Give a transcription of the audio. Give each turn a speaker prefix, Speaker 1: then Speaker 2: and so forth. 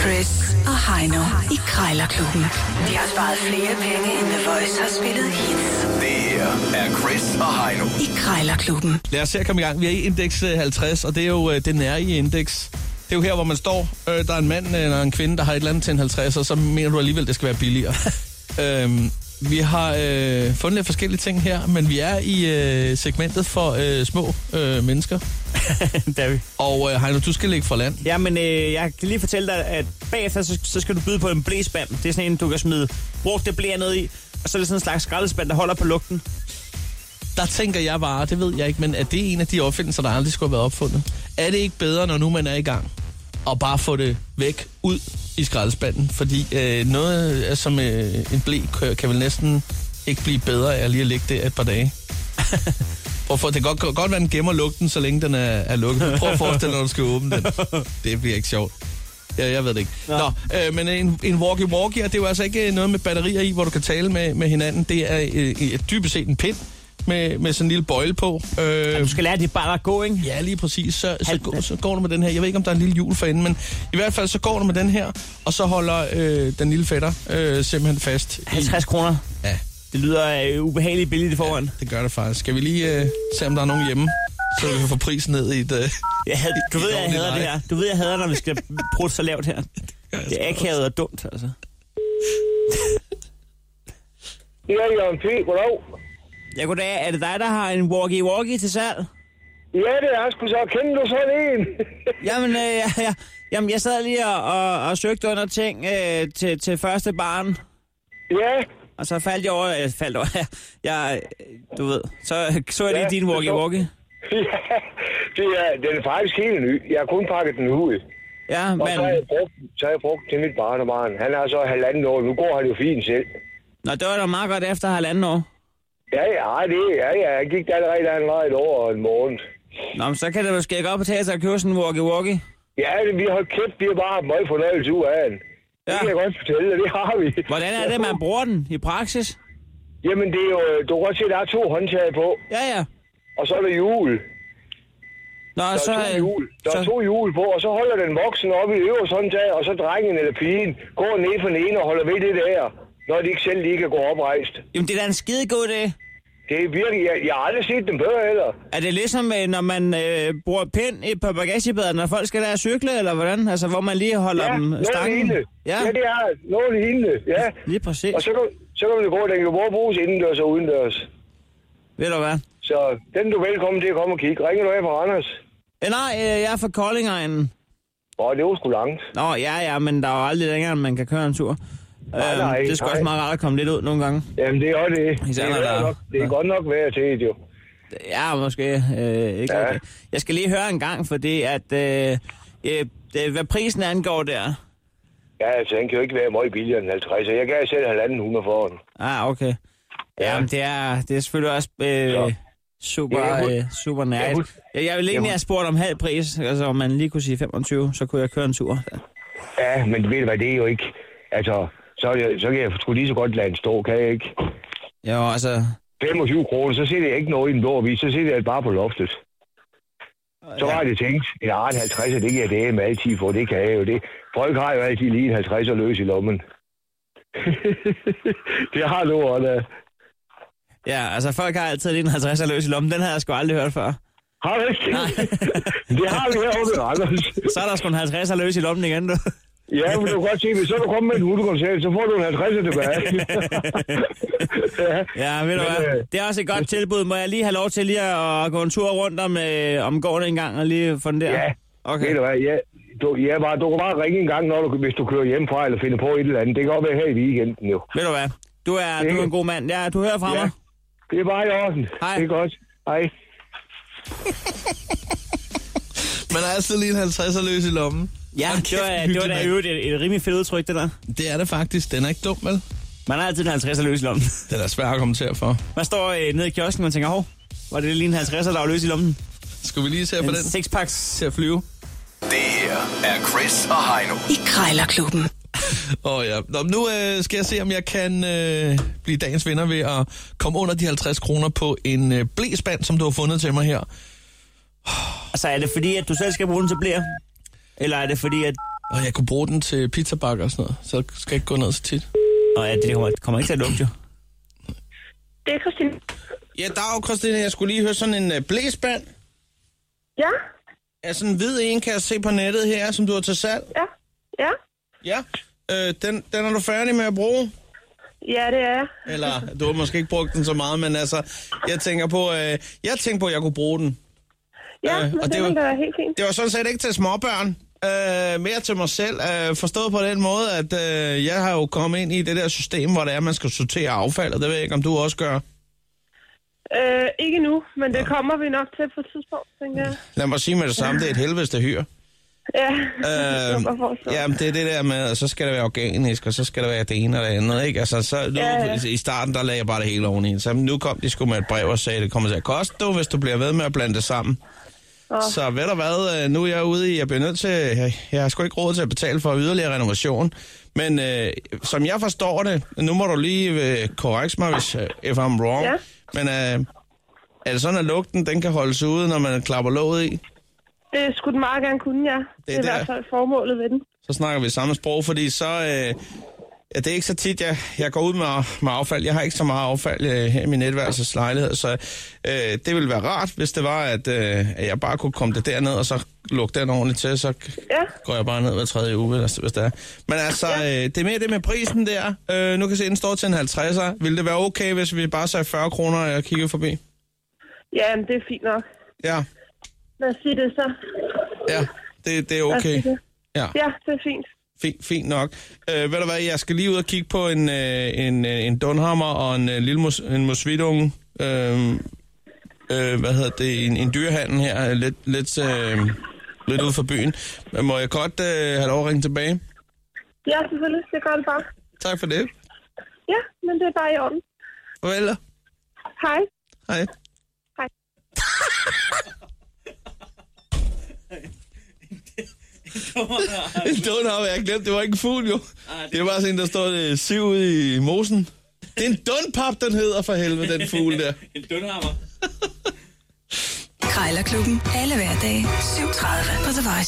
Speaker 1: Chris og Heino i Krejlerklubben. De har sparet flere penge, end The Voice har spillet hits
Speaker 2: Det her er Chris og Heino.
Speaker 1: i Krejlerklubben.
Speaker 3: Lad os se at komme i gang. Vi er i indeks øh, 50, og det er jo øh, det nære i indeks. Det er jo her, hvor man står. Øh, der er en mand øh, eller en kvinde, der har et eller andet til en 50, og så mener du alligevel, det skal være billigere. øhm, vi har øh, fundet lidt forskellige ting her, men vi er i øh, segmentet for øh, små øh, mennesker.
Speaker 4: det er vi.
Speaker 3: Og øh, Heino, du skal ligge fra land.
Speaker 4: Jamen, øh, jeg kan lige fortælle dig, at bagefter, så, så skal du byde på en blæspand. Det er sådan en, du kan smide brugte blæer ned i, og så er det sådan en slags skraldespand, der holder på lugten.
Speaker 3: Der tænker jeg bare, det ved jeg ikke, men er det en af de opfindelser, der aldrig skulle have været opfundet? Er det ikke bedre, når nu man er i gang, og bare få det væk ud i skraldespanden? Fordi øh, noget øh, som øh, en blæ kan- kan vel næsten ikke blive bedre af lige at ligge det et par dage. Hvorfor? Det kan godt, godt være, at den gemmer lugten, så længe den er, er lukket. Prøv at forestille dig, når du skal åbne den. Det bliver ikke sjovt. Ja, jeg ved det ikke. Nå, øh, men en, en walkie-walkie, og det er jo altså ikke øh, noget med batterier i, hvor du kan tale med, med hinanden. Det er øh, øh, dybest set en pind med, med sådan en lille bøjle på.
Speaker 4: Du
Speaker 3: Øh,
Speaker 4: skal lære dit barn at gå, ikke?
Speaker 3: ja, lige præcis. Så, så,
Speaker 4: Halv-
Speaker 3: gå- så går du med den her. Jeg ved ikke, om der er en lille hjul for enden, men i hvert fald så går du med den her, og så holder øh, den lille fætter øh, simpelthen fast. i-
Speaker 4: 50 kroner.
Speaker 3: Ja,
Speaker 4: Det lyder øh, ubehageligt billigt i forhånd.
Speaker 3: det gør det faktisk. Skal vi lige øh, se, om der er nogen hjemme, så vi kan få prisen ned i et... Øh,
Speaker 4: Jeg havde, du
Speaker 3: Det er
Speaker 4: ved, jeg
Speaker 3: ordentligt
Speaker 4: hader det
Speaker 3: nej.
Speaker 4: her. Du ved, jeg hader, når vi skal prøve så lavt her. Det er akavet og dumt, altså.
Speaker 5: Ja, Jørgen P. Goddag.
Speaker 4: Ja, goddag. Er det dig, der har en walkie-walkie til salg?
Speaker 5: Ja, det er sgu så. Kender du sådan en?
Speaker 4: Jamen, øh, ja, ja. Jamen, jeg sad lige og, og, og søgte under ting øh, til, til første barn.
Speaker 5: ja.
Speaker 4: Og så faldt jeg over, jeg faldt over, jeg, du ved, så så jeg lige
Speaker 5: Ja,
Speaker 4: din
Speaker 5: det så-
Speaker 4: walkie-walkie.
Speaker 5: ja. Det er, den er faktisk helt ny. Jeg har kun pakket den ud.
Speaker 4: Ja,
Speaker 5: Og så har jeg
Speaker 4: men,
Speaker 5: brugt, så har jeg brugt den til mit barnebarn. Han er så halvanden år. Nu går han jo fint selv.
Speaker 4: nå, det var da meget godt efter halvanden år.
Speaker 5: Ja, ja, det ja, ja. Jeg gik der allerede, da han var et år og en måned.
Speaker 4: Nå, men så kan det måske godt betale sig at købe sådan en walkie-walkie.
Speaker 5: Ja, det- vi har kæft, vi har bare haft meget fornøjelse ud af den. Ja.
Speaker 4: Ja.
Speaker 5: Det kan jeg godt fortælle dig, det har vi.
Speaker 4: Hvordan er det, man bruger den i praksis?
Speaker 5: Jamen, det er jo, du kan godt se, der er to håndtag på,
Speaker 4: Ja, ja.
Speaker 5: og så er der hjul.
Speaker 4: Nå,
Speaker 5: Der er,
Speaker 4: så,
Speaker 5: to
Speaker 4: øh,
Speaker 5: hjul. Der er
Speaker 4: så,
Speaker 5: to hjul på, og så holder den voksen op i øvre håndtag, og så drengen eller pigen går ned for den ene og holder ved det der, når de ikke selv lige kan gå oprejst.
Speaker 4: jamen, det er da en skide god idé.
Speaker 5: Det er virkelig, jeg, jeg har aldrig set dem bedre heller.
Speaker 4: Er det ligesom, øh, når man øh, bruger pind i på bagagebæder, når folk skal lære at cykle, eller hvordan? Altså, hvor man lige holder dem
Speaker 5: noget
Speaker 4: stangen?
Speaker 5: lignende.
Speaker 4: Ja,
Speaker 5: ja, det er noget lignende, ja.
Speaker 4: lige præcis.
Speaker 5: Og så kan, så kan man gå, den kan både bruges indendørs og udendørs.
Speaker 4: Ved du hvad?
Speaker 5: Så den er du velkommen til at komme og kigge. Ringer du af på Randers?
Speaker 4: Øh, Nej, øh, jeg er fra Koldingegnen.
Speaker 5: Åh, det var sgu langt.
Speaker 4: Nå, ja, ja, men der er jo aldrig længere, end man kan køre en tur. Nej,
Speaker 5: nej,
Speaker 4: det er sgu
Speaker 5: nej.
Speaker 4: også meget rart at komme lidt ud nogle gange.
Speaker 5: Jamen, det er også det.
Speaker 4: Især
Speaker 5: det,
Speaker 4: når
Speaker 5: er,
Speaker 4: der er-
Speaker 5: værd nok, det er
Speaker 4: ja.
Speaker 5: godt nok værd til det, jo.
Speaker 4: Ja, måske. Øh, ikke
Speaker 5: Ja.
Speaker 4: ja. Jeg skal lige høre en gang, fordi at, øh, øh, det, hvad prisen angår der.
Speaker 5: Ja, altså, den kan jo ikke være meget billigere end 50, så jeg gav selv halvanden hundre for den.
Speaker 4: Ah, okay. Ja. Jamen, det er, det er selvfølgelig også øh,
Speaker 5: Så.
Speaker 4: super,
Speaker 5: Ja, jeg hus-
Speaker 4: øh, super nært.
Speaker 5: jeg hus-
Speaker 4: Jeg, jeg ville egentlig
Speaker 5: hus-
Speaker 4: have spurgt om halv pris, altså om man lige kunne sige 25, så kunne jeg køre en tur.
Speaker 5: Ja, men ved du hvad, det er jo ikke... Altså, så, er det, så kan jeg sgu lige så godt lade den stå, kan jeg ikke?
Speaker 4: Jo, altså...
Speaker 5: 25 kroner, så sætter jeg ikke noget i en blå avis, så sætter jeg det bare på loftet. Så har jeg tænkt, en art 50, det kan jeg dage med altid for, det kan jeg jo det. Folk har jo altid lige en 50 og løs i lommen. det har du også.
Speaker 4: Ja, altså folk har altid lige en 50'er løs i lommen. Den havde jeg sgu aldrig hørt før.
Speaker 5: Har du ikke? det har vi herovre ved Randers.
Speaker 4: Så er der sgu en 50'er løs i lommen igen, du.
Speaker 5: Ja, men du kan godt se, hvis så er du kommer med en hundekoncert, så får du en 50 tilbage. ja.
Speaker 4: Ja, ved du
Speaker 5: Men,
Speaker 4: hvad?
Speaker 5: øh,
Speaker 4: Det er også et godt tilbud. Må jeg lige have lov til lige at gå en tur rundt om, øh, om gården en gang og lige fundere?
Speaker 5: Ja. Ved
Speaker 4: Okay.
Speaker 5: du hvad, ja, du, ja, bare, du kan bare ringe en gang, når du, hvis du kører hjemmefra eller finder på et eller andet. Det kan godt være her i weekenden jo.
Speaker 4: Ved du hvad? Du er,
Speaker 5: Det-
Speaker 4: du er en god mand. Ja, du hører fra
Speaker 5: Ja.
Speaker 4: mig.
Speaker 5: Det er bare i orden.
Speaker 4: Hej.
Speaker 5: Det er godt. Hej.
Speaker 3: man har altid lige en 50'er løs i lommen.
Speaker 4: Ja,
Speaker 3: Hold
Speaker 4: det
Speaker 3: kæft,
Speaker 4: var,
Speaker 3: en
Speaker 4: det var da i
Speaker 3: hyggelig
Speaker 4: øvrigt et, et rimelig fedt udtryk, det der.
Speaker 3: mand. Det er det faktisk. Den er ikke dum, vel?
Speaker 4: Man har altid en 50'er løs i lommen.
Speaker 3: Den er svær at kommentere for.
Speaker 4: Man står øh, nede i kiosken og tænker, hov, var det lige en 50'er, der var løs i lommen?
Speaker 3: Skal vi lige se på
Speaker 4: En
Speaker 3: den
Speaker 4: sixpacks.
Speaker 3: til at flyve?
Speaker 2: Det her er Chris og Heino.
Speaker 1: I Krejlerklubben.
Speaker 3: Åh oh, ja. Nå, men nu øh, skal jeg se, om jeg kan øh, blive dagens vinder ved at komme under de 50 kroner på en øh, blæspand, som du har fundet til mig her.
Speaker 4: Altså, er det fordi, at du selv skal bruge den til blære? Eller er det fordi, at
Speaker 3: Og jeg kunne bruge den til pizzabakker og sådan noget, så skal jeg ikke gå ned så tit.
Speaker 4: Og ja, det kommer, kommer ikke til at lukke, jo.
Speaker 6: Det er Christine.
Speaker 3: Ja, dag, Christine. Jeg skulle lige høre sådan en øh, blæsband.
Speaker 6: Ja,
Speaker 3: Er sådan en hvid en, kan jeg se på nettet her, som du har til salg.
Speaker 6: ja, ja.
Speaker 3: Ja. Øh, den, den er du færdig med at bruge?
Speaker 6: Ja, det er jeg.
Speaker 3: Eller du har måske ikke brugt den så meget, men altså, jeg tænker på, øh, jeg tænker på, at jeg kunne bruge den.
Speaker 6: Ja,
Speaker 3: Øh, og
Speaker 6: øh, men
Speaker 3: det
Speaker 6: det
Speaker 3: var-
Speaker 6: er da helt fint.
Speaker 3: Det var sådan set ikke til småbørn. Øh, mere til mig selv. Øh, forstået på den måde, at øh, jeg har jo kommet ind i det der system, hvor det er, man skal sortere affaldet. Det ved jeg ikke, om du også gør.
Speaker 6: Øh, ikke nu, men det kommer vi nok til på et tidspunkt, tænker jeg.
Speaker 3: Lad mig sige med det samme, det er et helveste hyr.
Speaker 6: Ja,
Speaker 3: Øh,
Speaker 6: ja.
Speaker 3: jamen, det er det der med, at så skal det være organisk, og så skal det være det ene og det andet, ikke? Altså, så, nu, ja,
Speaker 6: Ja,
Speaker 3: ja.
Speaker 6: ja.
Speaker 3: i starten, der lagde jeg bare det hele oveni. Så nu kom de sgu med et brev og sagde, det kommer til at koste du, hvis du bliver ved med at blande det sammen. Oh. Så ved du hvad, øh, nu er jeg ude i, jeg bliver nødt til, jeg, jeg har sgu ikke råd til at betale for yderligere renovation. Men øh, som jeg forstår det, nu må du lige øh, korreks mig, hvis, øh, if I'm wrong. Ja.
Speaker 6: Ja.
Speaker 3: Men øh, er det sådan, at lugten den kan holdes ude, når man klapper låget i?
Speaker 6: det skulle den meget gerne kunne, ja. Det er, det er i
Speaker 3: der.
Speaker 6: hvert fald formålet ved den.
Speaker 3: så snakker vi samme sprog, fordi så... Øh, ja, det er ikke så tit, jeg, jeg går ud med, med affald. Jeg har ikke så meget affald øh, her i min netværelseslejlighed, så øh, det ville være rart, hvis det var, at, øh, at jeg bare kunne komme det derned, og så lukke den ordentligt til, så
Speaker 6: Ja.
Speaker 3: går jeg bare ned hver tredje uge, hvis, hvis det er. Men altså, øh, det er mere det med prisen der. Øh, nu kan jeg se, den står til en 50'er. Vil det være okay, hvis vi bare sagde 40 kroner, og jeg kiggede forbi?
Speaker 6: Ja, men det er fint nok.
Speaker 3: Ja,
Speaker 6: Lad os sige det så.
Speaker 3: ja, det, det er
Speaker 6: Lad os
Speaker 3: okay.
Speaker 6: sige det.
Speaker 3: Ja.
Speaker 6: Ja, det er fint.
Speaker 3: Fint, fint nok. Øh, ved du hvad, jeg skal lige ud og kigge på en, øh, en, øh, en dunhammer og en øh, lille mus, en musvidunge. Øh, øh, hvad hedder det? En, en dyrehandel her, øh, lidt, lidt, øh, lidt ude for byen. Men Må jeg godt øh, have lov at ringe tilbage?
Speaker 6: Ja, selvfølgelig. Det gør det bare.
Speaker 3: Tak for det.
Speaker 6: Ja, men det er bare i orden.
Speaker 3: Farvel.
Speaker 6: Hej.
Speaker 3: Hej.
Speaker 6: Hej.
Speaker 3: en dunhammer, jeg glemte, det var ikke en fugl jo. Det var sådan en, der står øh, syv ude i mosen. Det er en dunpap, den hedder for helvede, den fugl der.
Speaker 4: En dunhammer.
Speaker 1: Krejlerklubben. Alle hverdage. 7.30 på The Voice.